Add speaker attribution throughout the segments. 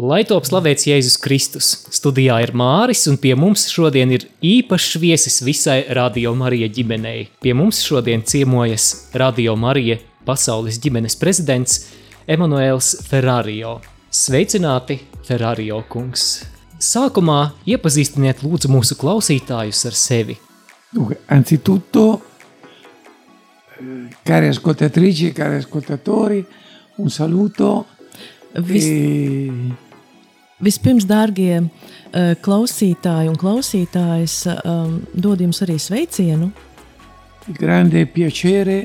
Speaker 1: Lai top slavēts Jēzus Kristus. Studijā ir Māris, un pie mums šodien ir īpašs viesis visai Radio Marija ģimenei. Pie mums šodien ciemojas Radio Marija pasaules ģimenes prezidents Emanuēls Ferrario. Sveicināti, Ferrario kungs! Sākumā iepazīstiniet lūdzu mūsu klausītājus ar sevi.
Speaker 2: Dunque, anzitutto, eh, care ascoltatrici e cari ascoltatori, un saluto
Speaker 3: Vis,
Speaker 2: e
Speaker 3: vispirms, dārgie eh, klausītāji un klausītājas, em, dod jums arī sveicienu.
Speaker 2: il grande piacere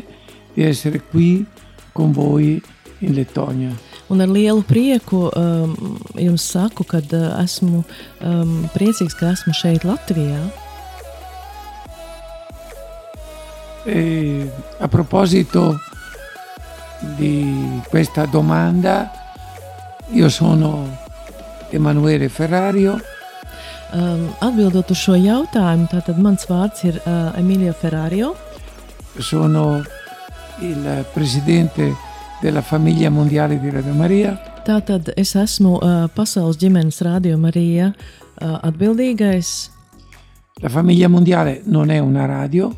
Speaker 2: di essere qui con voi in Lettonia.
Speaker 3: Un ar lielu prieku em, jums saku, ka esmu em, priecīgs, ka esmu šeit Latvijā.
Speaker 2: E a proposito di questa domanda, io sono Emanuele Ferrario,
Speaker 3: Em, Atbildot uz šo jautājumu, tātad mans vārds ir eh, Emīlija Ferrario.
Speaker 2: sono il presidente della famiglia mondiale di Radio Maria.
Speaker 3: Tātad es esmu eh, pasaules ģimenes rādījuma arī atbildīgais.
Speaker 2: La famiglia mondiale non è una radio,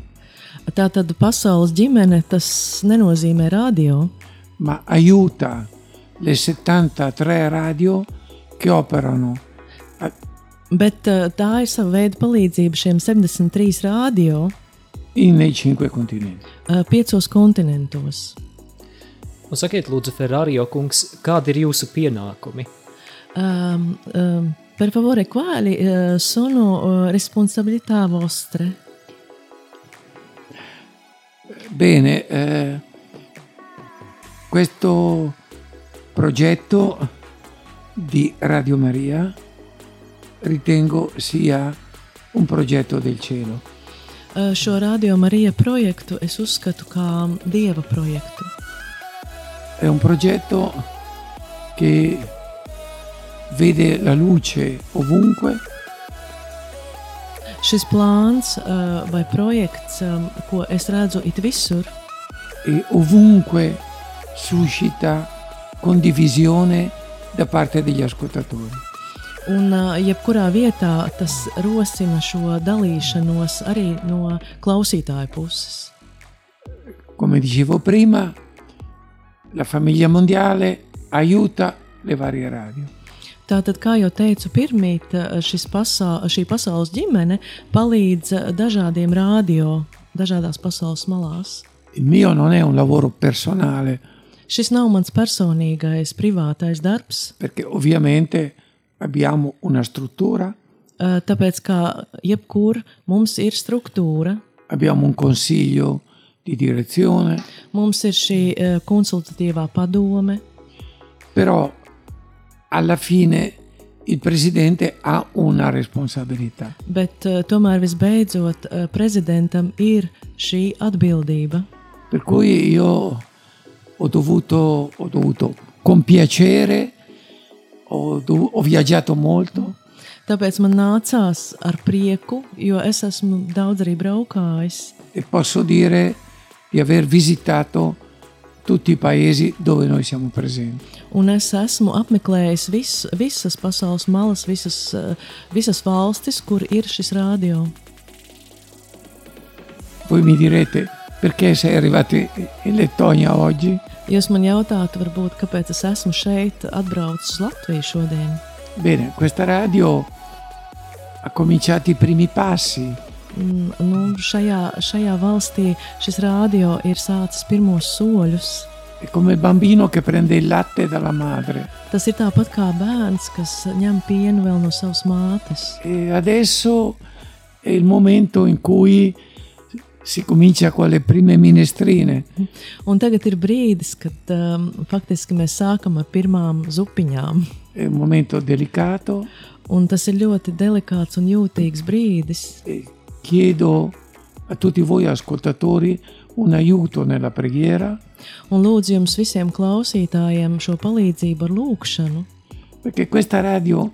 Speaker 3: Tātad pasaules ģimene tas nenozīmē radio.
Speaker 2: ma aiuta le 73 radio che operano a-
Speaker 3: Bet eh, tā ir sava veida palīdzība šiem 73 rādio
Speaker 2: in- nei cinque continenti.
Speaker 3: eh, piecos kontinentos.
Speaker 1: Un sakiet, lūdzu, Ferrario kungs, kādi ir jūsu pienākumi?
Speaker 3: Um, um, per favore, quali eh, sono eh, responsabilità vostre?
Speaker 2: Bene, eh, questo progetto di Radio Maria ritengo sia un progetto del cielo.
Speaker 3: Eh, Šo radio Marija projektu es uzskatu kā dieva projektu.
Speaker 2: È un progetto che vede la luce ovunque
Speaker 3: Šis plāns eh, vai projekts, em, ko es redzu it visur,
Speaker 2: e ovunque suscita condivisione da parte degli ascoltatori.
Speaker 3: un eh, jebkurā vietā tas rosina šo dalīšanos arī no klausītāju puses.
Speaker 2: Come dicevo prima, la famiglia mondiale aiuta le varie radio.
Speaker 3: Tātad, kā jau teicu, pirmīt, eh, šis pasā, šī pasaules ģimene palīdz eh, dažādiem rādio, dažādās pasaules malās.
Speaker 2: Il mio non è un lavoro personale,
Speaker 3: Šis nav mans personīgais, privātais darbs,
Speaker 2: perché ovviamente abbiamo una struttura,
Speaker 3: eh, tāpēc, kā jebkur, mums ir struktūra,
Speaker 2: abbiamo un consiglio di direzione,
Speaker 3: mums ir šī eh, konsultatīvā padome,
Speaker 2: però alla fine il presidente ha una responsabilità.
Speaker 3: bet eh, tomēr visbeidzot eh, prezidentam ir šī atbildība.
Speaker 2: Per cui io ho dovuto, ho dovuto con piacere, ho, dov- ho viaggiato molto,
Speaker 3: Tāpēc man nācās ar prieku, jo es esmu daudz arī braukājis.
Speaker 2: e posso dire di aver visitato tutti i paesi dove noi siamo presenti.
Speaker 3: Un es esmu apmeklējis vis, visas pasaules malas, visas, eh, visas valstis, kur ir šis rādio.
Speaker 2: Voi mi direte perché sei arrivato in Lettonia oggi?
Speaker 3: Jūs man jautājat, varbūt, kāpēc es esmu šeit, atbraucis uz Latviju šodien.
Speaker 2: Bene, questa radio ha cominciato i primi passi,
Speaker 3: Mm, Nu, šajā, šajā valstī šis rādio ir sācis pirmos soļus.
Speaker 2: è come il bambino che prende il latte dalla madre.
Speaker 3: Tas ir tāpat kā bērns, kas ņem pienu vēl no savas mātes.
Speaker 2: E adesso è il momento in cui si comincia con le prime minestrine,
Speaker 3: Un tagad ir brīdis, kad um, faktiski mēs sākam ar pirmām zupiņām.
Speaker 2: è un momento delicato.
Speaker 3: Un tas ir ļoti delikāts un jūtīgs brīdis.
Speaker 2: E chiedo a tutti voi ascoltatori un aiuto nella preghiera,
Speaker 3: un lūdzu jums visiem klausītājiem šo palīdzību ar lūgšanu,
Speaker 2: perché questa radio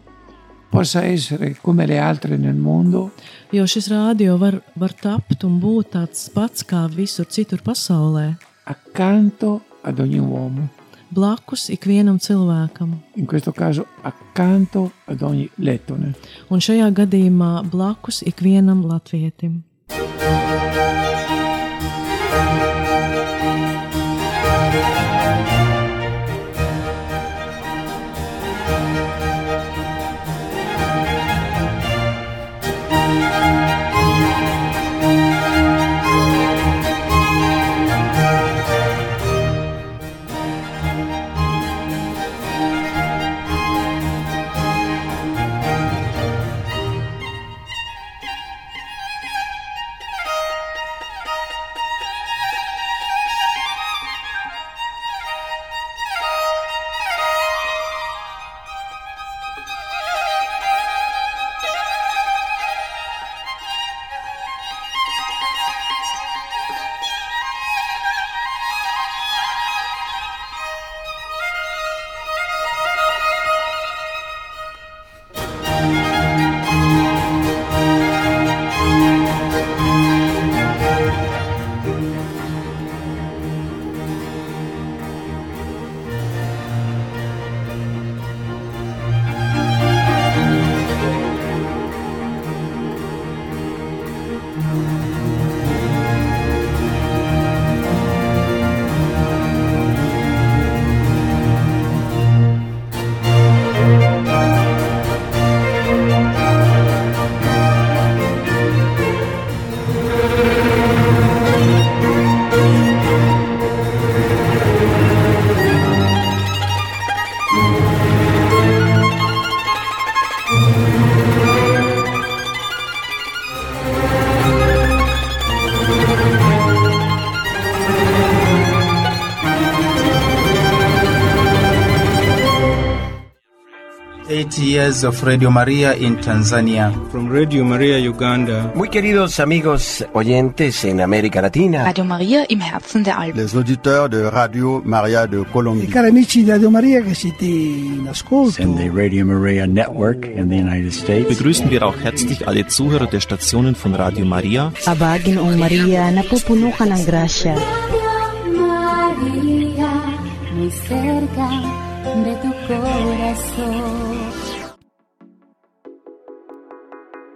Speaker 2: possa essere come le altre nel mondo,
Speaker 3: jo šis rādio var, var tapt un būt tāds pats kā visur citur pasaulē,
Speaker 2: accanto ad ogni uomo.
Speaker 3: blakus ikvienam cilvēkam.
Speaker 2: in questo caso accanto ad ogni lettone.
Speaker 3: Un šajā gadījumā blakus ikvienam latvietim.
Speaker 4: Eight years of Radio Maria in Tanzania.
Speaker 5: From Radio Maria Uganda,
Speaker 6: Muy queridos amigos oyentes en América Latina,
Speaker 7: Radio Maria im Herzen der Alpen.
Speaker 8: les auditeurs de Radio Maria de Colombie.
Speaker 9: Cari amici di Radio Maria che siete in ascolto,
Speaker 10: Begrüßen wir auch herzlich alle Zuhörer der Stationen von Radio Maria
Speaker 11: Abagin ang Maria na pupunukan ng grasya.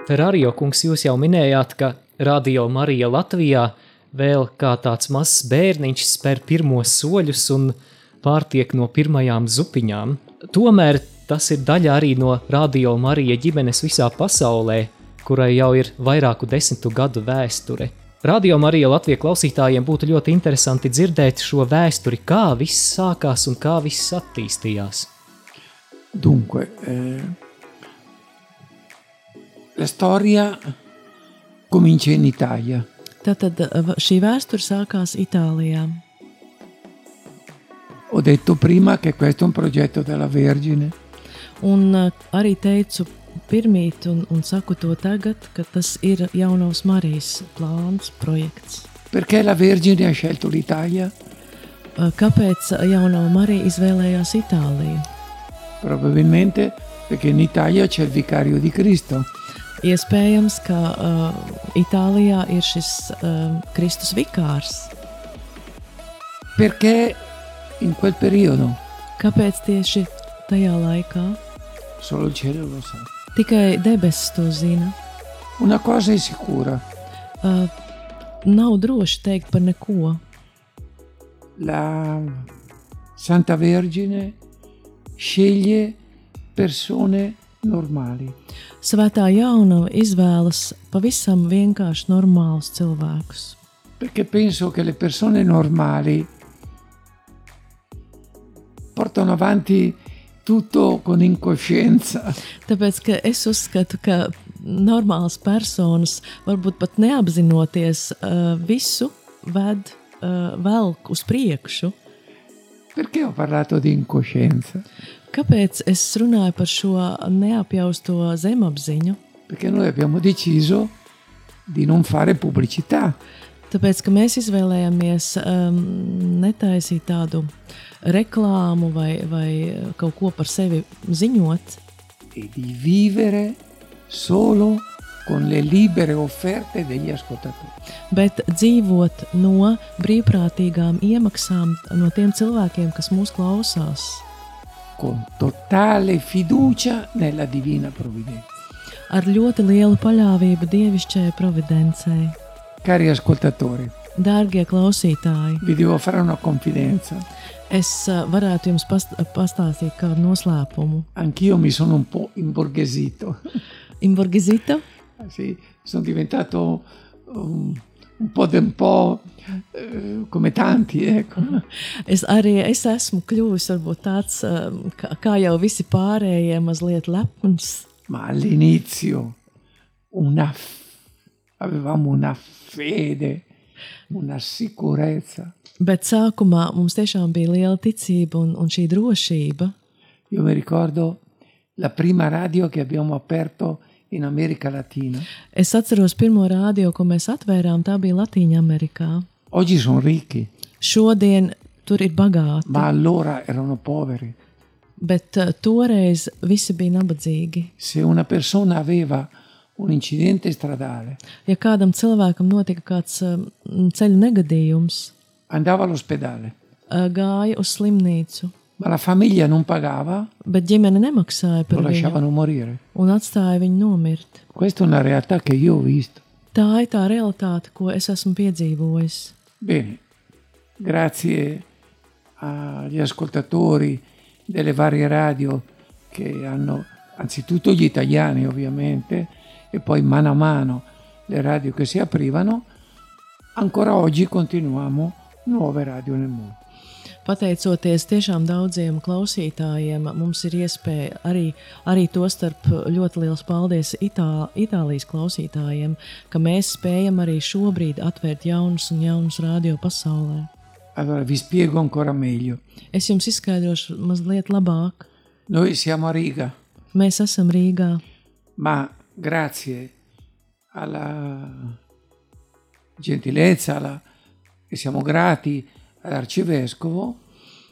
Speaker 1: Terārijo kungs, jūs jau minējāt, ka Radio Marija Latvijā vēl kā tāds mazs bērniņš spēr pirmos soļus un pārtiek no pirmajām zupiņām. Tomēr tas ir daļa arī no Radio Marija ģimenes visā pasaulē, kurai jau ir vairāku desmitu gadu vēsture. Radio Marija Latvijas klausītājiem būtu ļoti interesanti dzirdēt šo vēsturi, kā viss sākās un kā viss attīstījās.
Speaker 2: Dunque, eh, la storia comincia in Italia.
Speaker 3: Tātad eh, v- šī vēsture sākās Itālijā.
Speaker 2: Ho detto prima che questo è un progetto della Vergine.
Speaker 3: Un eh, arī teicu pirmīt, un, un saku to tagad, ka tas ir jaunos Marijas plāns, projekts.
Speaker 2: Perché la Vergine ha scelto l'Italia?
Speaker 3: Eh, Kāpēc jaunā Marija izvēlējās Itāliju?
Speaker 2: Probabilmente perché in Italia c'è il vicario di Cristo.
Speaker 3: Iespējams, ka uh, Itālijā ir šis uh, Kristus vikārs.
Speaker 2: Perché in quel periodo
Speaker 3: Kāpēc tieši tajā laikā?
Speaker 2: solo il cielo lo sa.
Speaker 3: Tikai debesis to zina.
Speaker 2: Una cosa è sicura,
Speaker 3: Uh, nav droši teikt par neko.
Speaker 2: la Santa Vergine sceglie persone normali.
Speaker 3: Svētā jaunava izvēlas pavisam vienkārši normālus cilvēkus.
Speaker 2: Perché penso che le persone normali portano avanti tutto con incoscienza.
Speaker 3: Tāpēc ka es uzskatu, ka normālas personas, varbūt pat neapzinoties, uh, visu ved uh, velk uz priekšu.
Speaker 2: Perché ho parlato di incoscienza?
Speaker 3: Kāpēc es runāju par šo neapjausto zemapziņu?
Speaker 2: Perché noi abbiamo deciso di non fare pubblicità.
Speaker 3: Tāpēc, ka mēs izvēlējāmies um, netaisīt tādu reklāmu vai, vai kaut ko par sevi ziņot,
Speaker 2: e di vivere solo con le libere offerte degli ascoltatori.
Speaker 3: bet dzīvot no brīvprātīgām iemaksām no tiem cilvēkiem, kas mūs klausās,
Speaker 2: con totale fiducia nella divina provvidenza.
Speaker 3: ar ļoti lielu paļāvību dievišķajai providencei.
Speaker 2: Cari ascoltatori,
Speaker 3: Dārgie klausītāji,
Speaker 2: vi devo fare una confidenza.
Speaker 3: es ā, varētu jums past pastāstīt kādu noslēpumu.
Speaker 2: Anch'io mi sono un po' imborghesito.
Speaker 3: Imburgizita,
Speaker 2: Sì, sono diventato um, un po' de un po' eh, come tanti, ecco.
Speaker 3: es arī es esmu kļuvis varbūt tāds, ā, kā- kā jau visi pārējie, mazliet lepns.
Speaker 2: Ma all'inizio una f- avevamo una fede, una sicurezza.
Speaker 3: Bet sākumā mums tiešām bija liela ticība un, un šī drošība.
Speaker 2: Io mi ricordo la prima radio che abbiamo aperto in America Latina.
Speaker 3: Es atceros pirmo rādio, ko mēs atvērām, tā bija Latvija Amerikā.
Speaker 2: Oggi sono ricchi,
Speaker 3: Šodien tur ir bagāti,
Speaker 2: ma allora erano poveri.
Speaker 3: bet eh, toreiz visi bija nabadzīgi.
Speaker 2: Se una persona aveva un incidente stradale,
Speaker 3: Ja kādam cilvēkam notika kāds eh, m, ceļu negadījums,
Speaker 2: andava all'ospedale,
Speaker 3: eh, gāja uz slimnīcu,
Speaker 2: ma la famiglia non pagava,
Speaker 3: bet ģimene nemaksāja
Speaker 2: lo
Speaker 3: par viņu
Speaker 2: lasciavano morire.
Speaker 3: un atstāja viņu nomirt.
Speaker 2: Questa è una realtà che io ho visto.
Speaker 3: Tā ir tā realitāte, ko es esmu piedzīvojis.
Speaker 2: Bene, grazie agli ascoltatori delle varie radio che hanno, anzitutto gli italiani ovviamente, e poi mano a mano le radio che si aprivano, ancora oggi continuiamo nuove radio nel mondo.
Speaker 3: Pateicoties tiešām daudziem klausītājiem, mums ir iespēja arī, arī to starp ļoti liels paldies Itā, Itālijas klausītājiem, ka mēs spējam arī šobrīd atvērt jaunus un jaunus radio pasaulē.
Speaker 2: Allora vi spiego ancora meglio.
Speaker 3: Es jums izskaidrošu mazliet labāk.
Speaker 2: Noi siamo a Riga,
Speaker 3: Mēs esam Rīgā,
Speaker 2: ma grazie alla gentilezza, alla- e siamo grati all'arcivescovo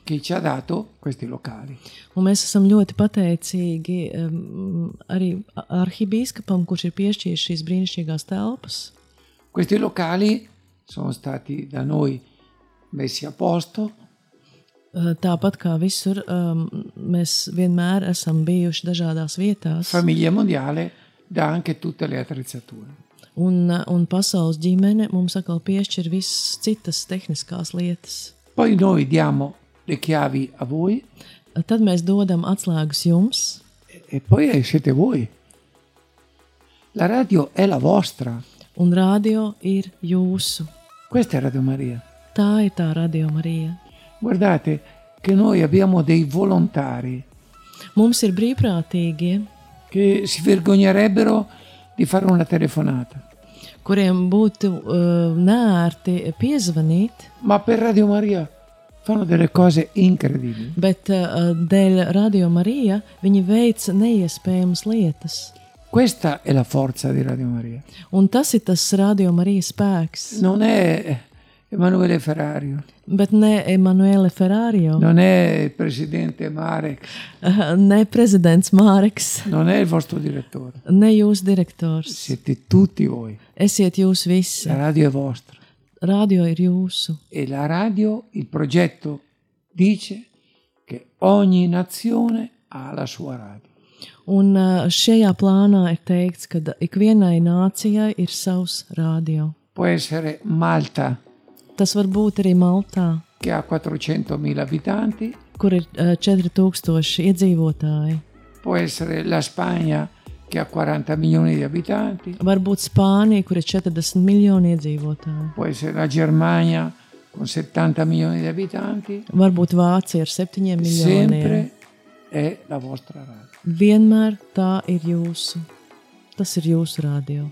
Speaker 2: che ci ha dato questi locali.
Speaker 3: un mēs esam ļoti pateicīgi um, arī arhibīskapam, kurš ir piešķīris šīs brīnišķīgās telpas.
Speaker 2: Questi locali sono stati da noi messi a posto,
Speaker 3: Eh, Tāpat kā visur, um, mēs vienmēr esam bijuši dažādās vietās.
Speaker 2: Famiglia Mondiale dà anche tutte le attrezzature.
Speaker 3: Un, uh, un pasaules ģimene mums atkal piešķir visas citas tehniskās lietas.
Speaker 2: Poi noi diamo le chiavi a voi
Speaker 3: Uh, Tad mēs dodam atslēgas jums,
Speaker 2: e poi eh, siete voi. La radio è la vostra.
Speaker 3: un radio ir jūsu.
Speaker 2: Questa è Radio Maria.
Speaker 3: Tā ir tā radiomarija.
Speaker 2: Guardate che noi abbiamo dei volontari
Speaker 3: Mums ir brīvprātīgie,
Speaker 2: che si vergognerebbero di fare una telefonata,
Speaker 3: kuriem būtu uh, nērti piezvanīt,
Speaker 2: ma per Radio Maria fanno delle cose incredibili.
Speaker 3: bet uh, dēļ radiomarija viņi veic neiespējamas lietas.
Speaker 2: Questa è la forza di Radio Maria.
Speaker 3: Un tas ir tas radiomarijas spēks,
Speaker 2: Non è Emanuele Ferrario,
Speaker 3: bet ne Emanuele Ferrārija,
Speaker 2: non è il presidente Marek,
Speaker 3: ne prezidents Māreks,
Speaker 2: non è il vostro direttore.
Speaker 3: ne jūs direktors.
Speaker 2: Siete tutti voi.
Speaker 3: Esiet jūs visi.
Speaker 2: La radio è vostra.
Speaker 3: Radio ir jūsu.
Speaker 2: E la radio, il progetto dice che ogni nazione ha la sua radio.
Speaker 3: Un ā, šajā plānā ir teikts, ka ikvienai nācijai ir savs radio.
Speaker 2: Può essere Malta,
Speaker 3: Tas var būt arī Maltā,
Speaker 2: che ha 400.000 abitanti,
Speaker 3: kur ir ā, 4000 iedzīvotāji.
Speaker 2: può essere la Spagna, che ha 40 milioni di abitanti,
Speaker 3: Varbūt Spānija, kur ir 40 miljoni iedzīvotāji.
Speaker 2: può essere la Germania, con 70 milioni di abitanti.
Speaker 3: Varbūt Vācija ar 7 miljoniem.
Speaker 2: sempre è la vostra radio.
Speaker 3: Vienmēr tā ir jūsu. Tas ir jūsu radio.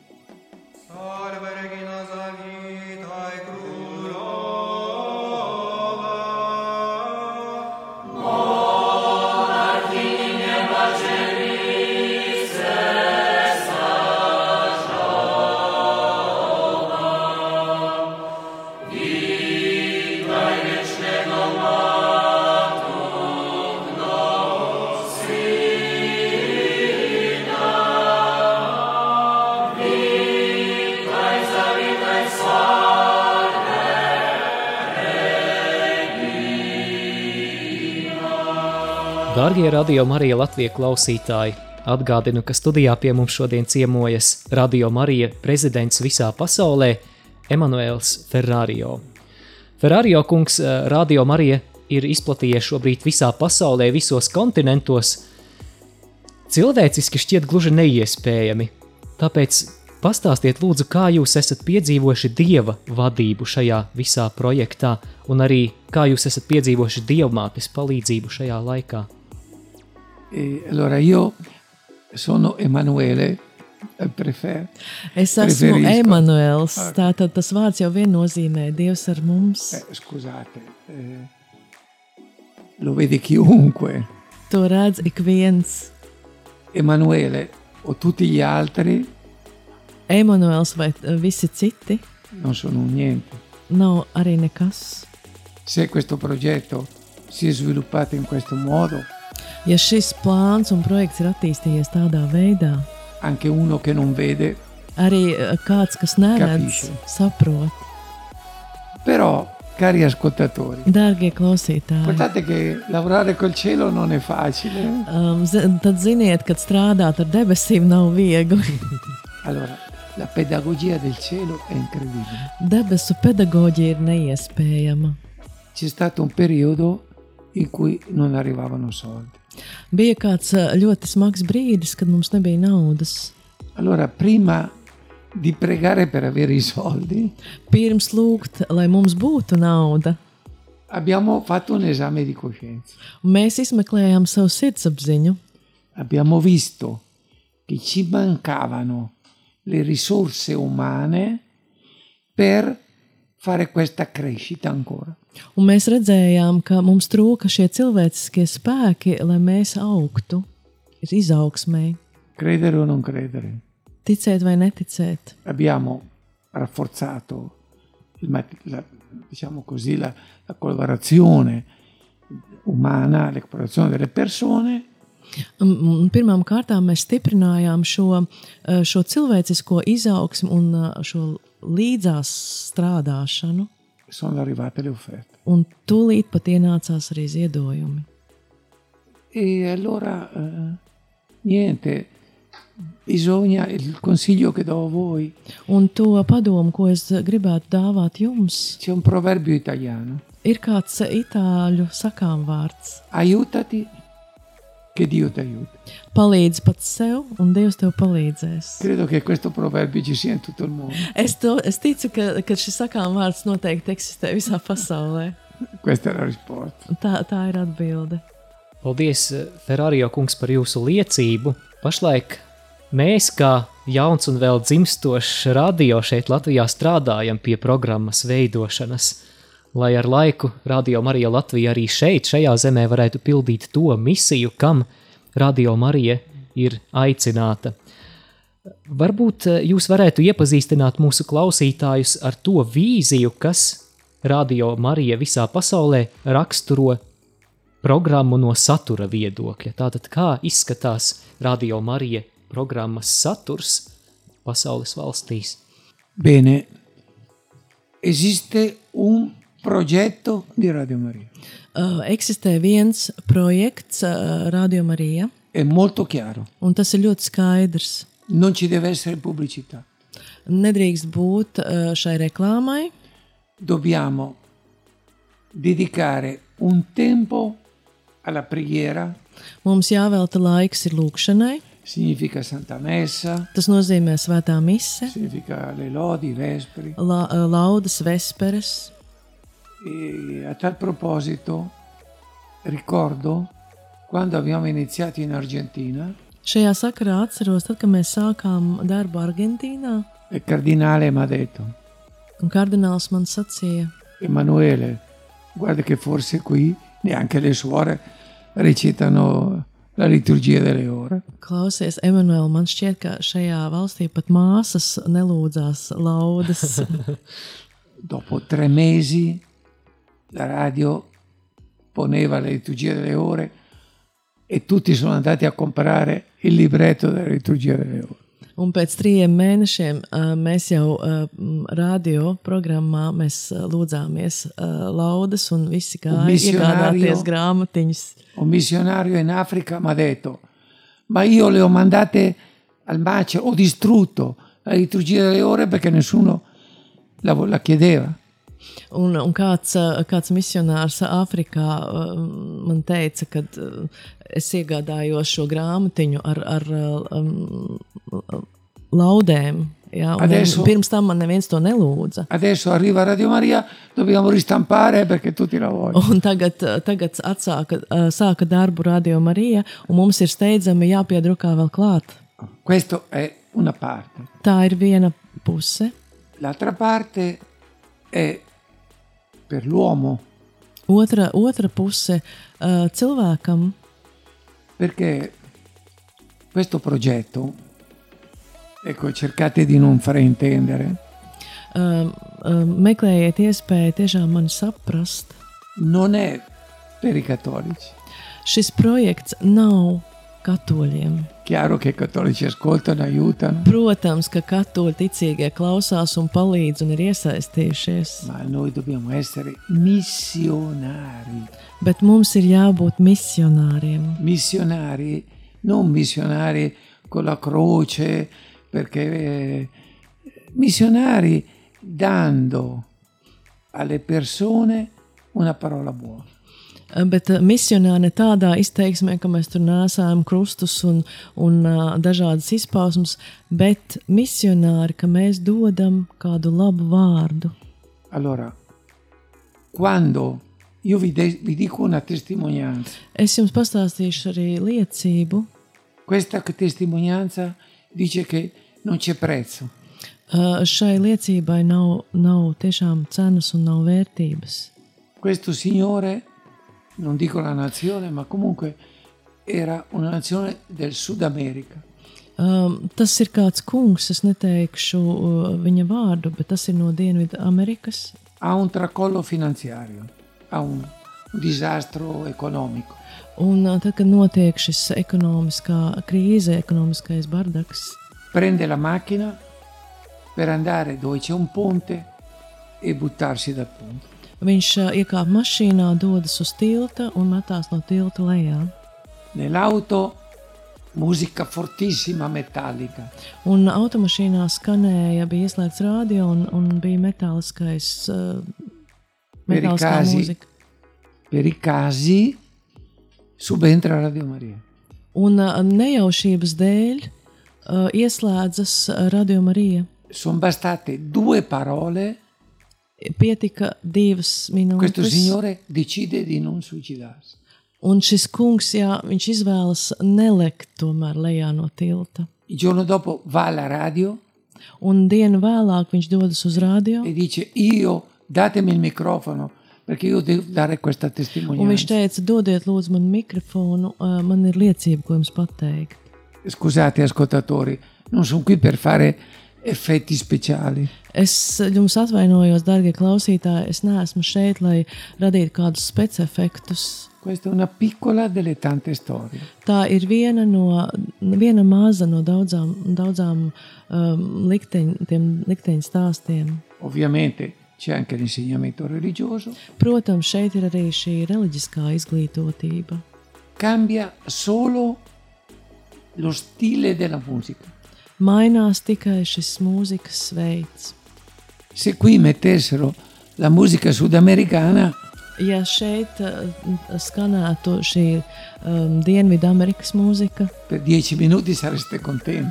Speaker 12: Amen.
Speaker 1: Darbie radio Marija Latvijas klausītāji! Atgādinu, ka studijā pie mums šodien ciemojas Radio Marija prezidents visā pasaulē Emanuēls Ferrario. Ferrario kungs eh, Radio Marija ir izplatījies šobrīd visā pasaulē, visos kontinentos. Cilvēciski šķiet gluži neiespējami. Tāpēc pastāstiet, lūdzu, kā jūs esat piedzīvojuši dieva vadību šajā visā projektā, un arī kā jūs esat piedzīvojuši dievmātes palīdzību šajā laikā.
Speaker 2: E allora io sono Emanuele, eh, prefer-
Speaker 3: Es esmu
Speaker 2: preferisco-
Speaker 3: Emanuēls.
Speaker 2: Ah,
Speaker 3: Tātad tas vārds jau vien nozīmē Dievs ar mums.
Speaker 2: eh, scusate, eh, lo vede chiunque.
Speaker 3: To redz ik viens.
Speaker 2: Emanuele o tutti gli altri
Speaker 3: Emanuēls vai eh, visi citi
Speaker 2: non sono un niente.
Speaker 3: nav arī nekas.
Speaker 2: Se questo progetto si è sviluppato in questo modo,
Speaker 3: Ja šis plāns un projekts ir attīstījies tādā veidā,
Speaker 2: anche uno che non vede,
Speaker 3: arī eh, kāds, kas neredz,
Speaker 2: Capisce.
Speaker 3: saprot.
Speaker 2: però cari ascoltatori,
Speaker 3: Dārgie klausītāji,
Speaker 2: guardate che lavorare col cielo non è facile.
Speaker 3: um, zi- tad ziniet, ka strādāt ar debesīm nav viegli.
Speaker 2: Allora, la pedagogia del cielo è incredibile.
Speaker 3: Debesu pedagoģija ir neiespējama.
Speaker 2: C'è stato un periodo in cui non arrivavano soldi.
Speaker 3: Bija kāds eh, ļoti smags brīdis, kad mums nebija naudas.
Speaker 2: Allora, prima di pregare per avere i soldi,
Speaker 3: Pirms lūgt, lai mums būtu nauda,
Speaker 2: abbiamo fatto un esame di coscienza.
Speaker 3: mēs izmeklējām savu sirdsapziņu.
Speaker 2: Abbiamo visto che ci mancavano le risorse umane per fare questa crescita ancora.
Speaker 3: Un mēs redzējām, ka mums trūka šie cilvēciskie spēki, lai mēs augtu, ir izaugsmē,
Speaker 2: Credere o non credere.
Speaker 3: ticēt vai neticēt.
Speaker 2: abbiamo rafforzato il mat- la, diciamo così, la, la collaborazione umana, la collaborazione delle persone
Speaker 3: Pirmkārt, mēs stiprinājām šo, eh, šo cilvēcisko izaugsmu un eh, šo līdzās strādāšanu,
Speaker 2: sono arrivate le offerte.
Speaker 3: un tūlīt pat ienācās arī ziedojumi.
Speaker 2: E allora, eh, niente, bisogna, il consiglio che do a voi,
Speaker 3: Un to padomu, ko es gribētu dāvāt jums,
Speaker 2: c'è un proverbio italiano,
Speaker 3: ir kāds itāļu sakāmvārds.
Speaker 2: aiutati che Dio ti aiuta.
Speaker 3: Palīdz pats sev, un Dievs tev palīdzēs.
Speaker 2: Credo che questo proverbio ci sia in tutto il mondo.
Speaker 3: Es, to, es ticu, ka, ka šis sakām vārds noteikti eksistē visā pasaulē.
Speaker 2: Questa è la risposta.
Speaker 3: Tā, tā ir atbilde.
Speaker 1: Paldies, Ferrarijo kungs, par jūsu liecību. Pašlaik mēs, kā jauns un vēl dzimstošs radio šeit Latvijā, strādājam pie programmas veidošanas, lai ar laiku Radio Marija Latvija arī šeit, šajā zemē, varētu pildīt to misiju, kam Radio Marija ir aicināta. Varbūt eh, jūs varētu iepazīstināt mūsu klausītājus ar to vīziju, kas Radio Marija visā pasaulē raksturo programmu no satura viedokļa. Tātad, kā izskatās Radio Marija programmas saturs pasaules valstīs?
Speaker 2: Bene, esiste un progetto di Radio Maria.
Speaker 3: Uh, eksistē viens projekts, uh, Radio Marija,
Speaker 2: È molto chiaro,
Speaker 3: un tas ir ļoti skaidrs.
Speaker 2: non ci deve essere pubblicità.
Speaker 3: Nedrīkst būt uh, šai reklāmai.
Speaker 2: Dobbiamo dedicare un tempo alla preghiera,
Speaker 3: Mums jāvelta laiks ir lūkšanai.
Speaker 2: significa Santa Messa,
Speaker 3: Tas nozīmē svētā mise,
Speaker 2: significa le lodi, i vespri.
Speaker 3: la, uh, laudas vesperes.
Speaker 2: E a tal proposito ricordo quando abbiamo iniziato in Argentina,
Speaker 3: Šajā sakarā atceros, tad, kad mēs sākām darbu Argentīnā,
Speaker 2: il cardinale mi ha detto,
Speaker 3: un kardināls man sacīja,
Speaker 2: Emanuele, guarda che forse qui neanche le suore recitano la liturgia delle ore.
Speaker 3: Klausies, Emanuēl, man šķiet, ka šajā valstī pat māsas nelūdzās laudas.
Speaker 2: Dopo tre mesi la radio poneva la liturgia delle ore e tutti sono andati a comprare il libretto della liturgia delle ore.
Speaker 3: Un pēc trījiem mēnešiem uh, mēs jau uh, radio programmā mēs uh, lūdzāmies uh, laudas un visi gāja iegādāties grāmatiņas.
Speaker 2: Un missionario in Africa mi ha detto, ma io le ho mandate al macello, ho distrutto la liturgia delle ore perché nessuno la, la chiedeva.
Speaker 3: Un, un kāds, uh, kāds misionārs Āfrikā uh, man teica, ka uh, es iegādājos šo grāmatiņu ar, ar um, laudēm. Jā, un
Speaker 2: Adesso-
Speaker 3: pirms tam man neviens to nelūdza.
Speaker 2: Adesso arriva Radio Maria, dobbiamo ristampare perché tutti la vogliono.
Speaker 3: Un tagad, eh, tagad atsāka, eh, sāka darbu Radio Marija, un mums ir steidzami jāpiedrukā vēl klāt.
Speaker 2: Questa è una parte.
Speaker 3: Tā ir viena puse.
Speaker 2: L'altra parte è per l'uomo,
Speaker 3: Otra, otra puse eh, cilvēkam
Speaker 2: perché questo progetto, ecco, cercate di non fraintendere,
Speaker 3: eh, eh, meklējiet iespēju tiešām man saprast.
Speaker 2: non è per i cattolici.
Speaker 3: Šis projekts nav katoļiem.
Speaker 2: Chiaro che i cattolici ascoltano, aiutano,
Speaker 3: Protams, ka katoļu ticīgie klausās un palīdz un ir iesaistījušies,
Speaker 2: ma noi dobbiamo essere missionari.
Speaker 3: bet mums ir jābūt misionāriem.
Speaker 2: missionari, non missionari con la croce, perché eh, missionari dando alle persone una parola buona.
Speaker 3: Bet eh, misijā ne tādā izteiksmē, ka mēs tur nesām krustus un, un eh, dažādas izpausmes, bet misionāri, ka mēs dodam kādu labu vārdu.
Speaker 2: Allora, quando io vi, de- vi dico una testimonianza,
Speaker 3: Es jums pastāstīšu arī liecību.
Speaker 2: questa testimonianza dice che non c'è prezzo,
Speaker 3: Eh, Šai liecībai nav, nav tiešām cenas un nav vērtības.
Speaker 2: questo signore, non dico la nazione, ma comunque era una nazione del Sud America.
Speaker 3: Um, tas ir kāds kungs, es neteikšu uh, viņa vārdu, bet tas ir no Dienvidamerikas.
Speaker 2: ha un tracollo finanziario, ha un, un disastro economico.
Speaker 3: Un uh, tad, kad notiek šis ekonomiskā krīze, ekonomiskais bardaks,
Speaker 2: Prende la macchina per andare dove c'è un ponte e buttarsi dal ponte.
Speaker 3: Viņš ā, iekāpa mašīnā, dodas uz tilta un metās no tilta lejā.
Speaker 2: Nell'auto musica fortissima metallica.
Speaker 3: Un automašīnā skanēja, bija ieslēgts rādio un, un bija metāliskais, uh, metāliskā
Speaker 2: Merikāzi.
Speaker 3: mūzika.
Speaker 2: Per i casi subentra Radio Maria.
Speaker 3: Un ā, nejaušības dēļ uh, ieslēdzas ā, Radio Marija.
Speaker 2: Sono bastate due parole,
Speaker 3: Pietika divas
Speaker 2: questo
Speaker 3: minūtes.
Speaker 2: signore decide di non suicidarsi.
Speaker 3: Un šis kungs, jā, viņš izvēlas nelikt tomēr lejā no tilta.
Speaker 2: Il giorno dopo va alla radio
Speaker 3: Un dienu vēlāk viņš dodas uz rādio.
Speaker 2: e dice io datemi il microfono perché io devo dare questa
Speaker 3: Un viņš
Speaker 2: testimonianza.
Speaker 3: teica, dodiet, lūdzu, man mikrofonu, ā, man ir liecība, ko jums pateikt.
Speaker 2: Scusate ascoltatori, non sono qui per fare effetti speciali.
Speaker 3: Es jums atvainojos, darbie klausītāji, es neesmu šeit, lai radītu kādus specifektus.
Speaker 2: Questa è una piccola delle tante storie.
Speaker 3: Tā ir viena, no, viena maza no daudzām, daudzām um, likteņu tiem likteņu stāstiem.
Speaker 2: Ovviamente c'è anche l'insegnamento religioso.
Speaker 3: Protams, šeit ir arī šī reliģiskā izglītotība.
Speaker 2: Cambia solo lo stile della musica.
Speaker 3: Mainās tikai šis mūzikas veids.
Speaker 2: Se qui mettessero la musica sudamericana,
Speaker 3: Ja šeit uh, skanētu šī um, Dienvidamerikas mūzika,
Speaker 2: per dieci minuti sareste contenti,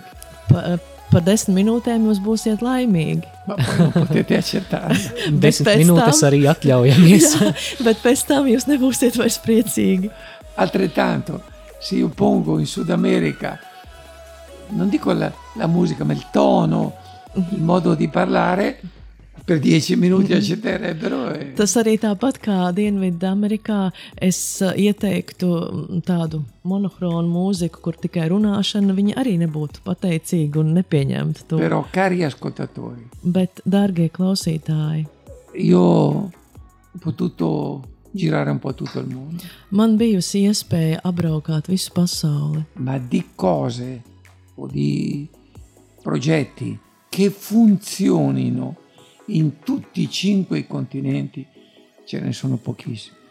Speaker 3: pa, par desmit minūtēm jūs būsiet laimīgi.
Speaker 2: ma poi non potete accettare.
Speaker 1: Desmit
Speaker 3: pēc
Speaker 1: minūtes
Speaker 3: tam-
Speaker 1: arī atļaujamies.
Speaker 3: Jā, bet pēc tam jūs nebūsiet vairs priecīgi.
Speaker 2: Altrettanto, se io pongo in Sud America, non dico la, la musica, ma il tono, il modo di parlare, per dieci minuti accetterebbero. eh, e-
Speaker 3: Tas arī tāpat kā Dienvidamerikā, es uh, ieteiktu mm, tādu monohronu mūziku, kur tikai runāšana, viņi arī nebūtu pateicīgi un nepieņemtu to.
Speaker 2: Però, cari ascoltatori,
Speaker 3: Bet, dārgie klausītāji,
Speaker 2: io ho potuto girare un po' tutto il mondo,
Speaker 3: man bijusi iespēja apbraukāt visu pasauli.
Speaker 2: ma di cose o di progetti che funzionino in tutti i cinque i continenti ce ne sono pochissimi.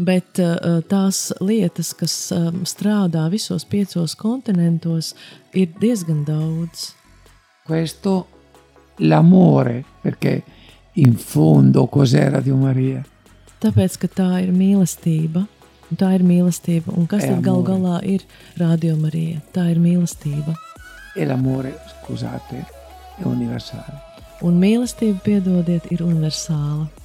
Speaker 3: Bet uh, tās lietas, kas um, strādā visos piecos kontinentos, ir diezgan daudz.
Speaker 2: Questo l'amore, perché in fondo cos'è Radio Maria?
Speaker 3: Tāpēc, ka tā ir mīlestība. Un tā ir mīlestība. Un kas
Speaker 2: Ei,
Speaker 3: tad gal
Speaker 2: amore.
Speaker 3: galā ir Radio Marija? Tā ir mīlestība.
Speaker 2: E l'amore, scusate, è universale.
Speaker 3: Un mīlestība, piedodiet, ir universāla.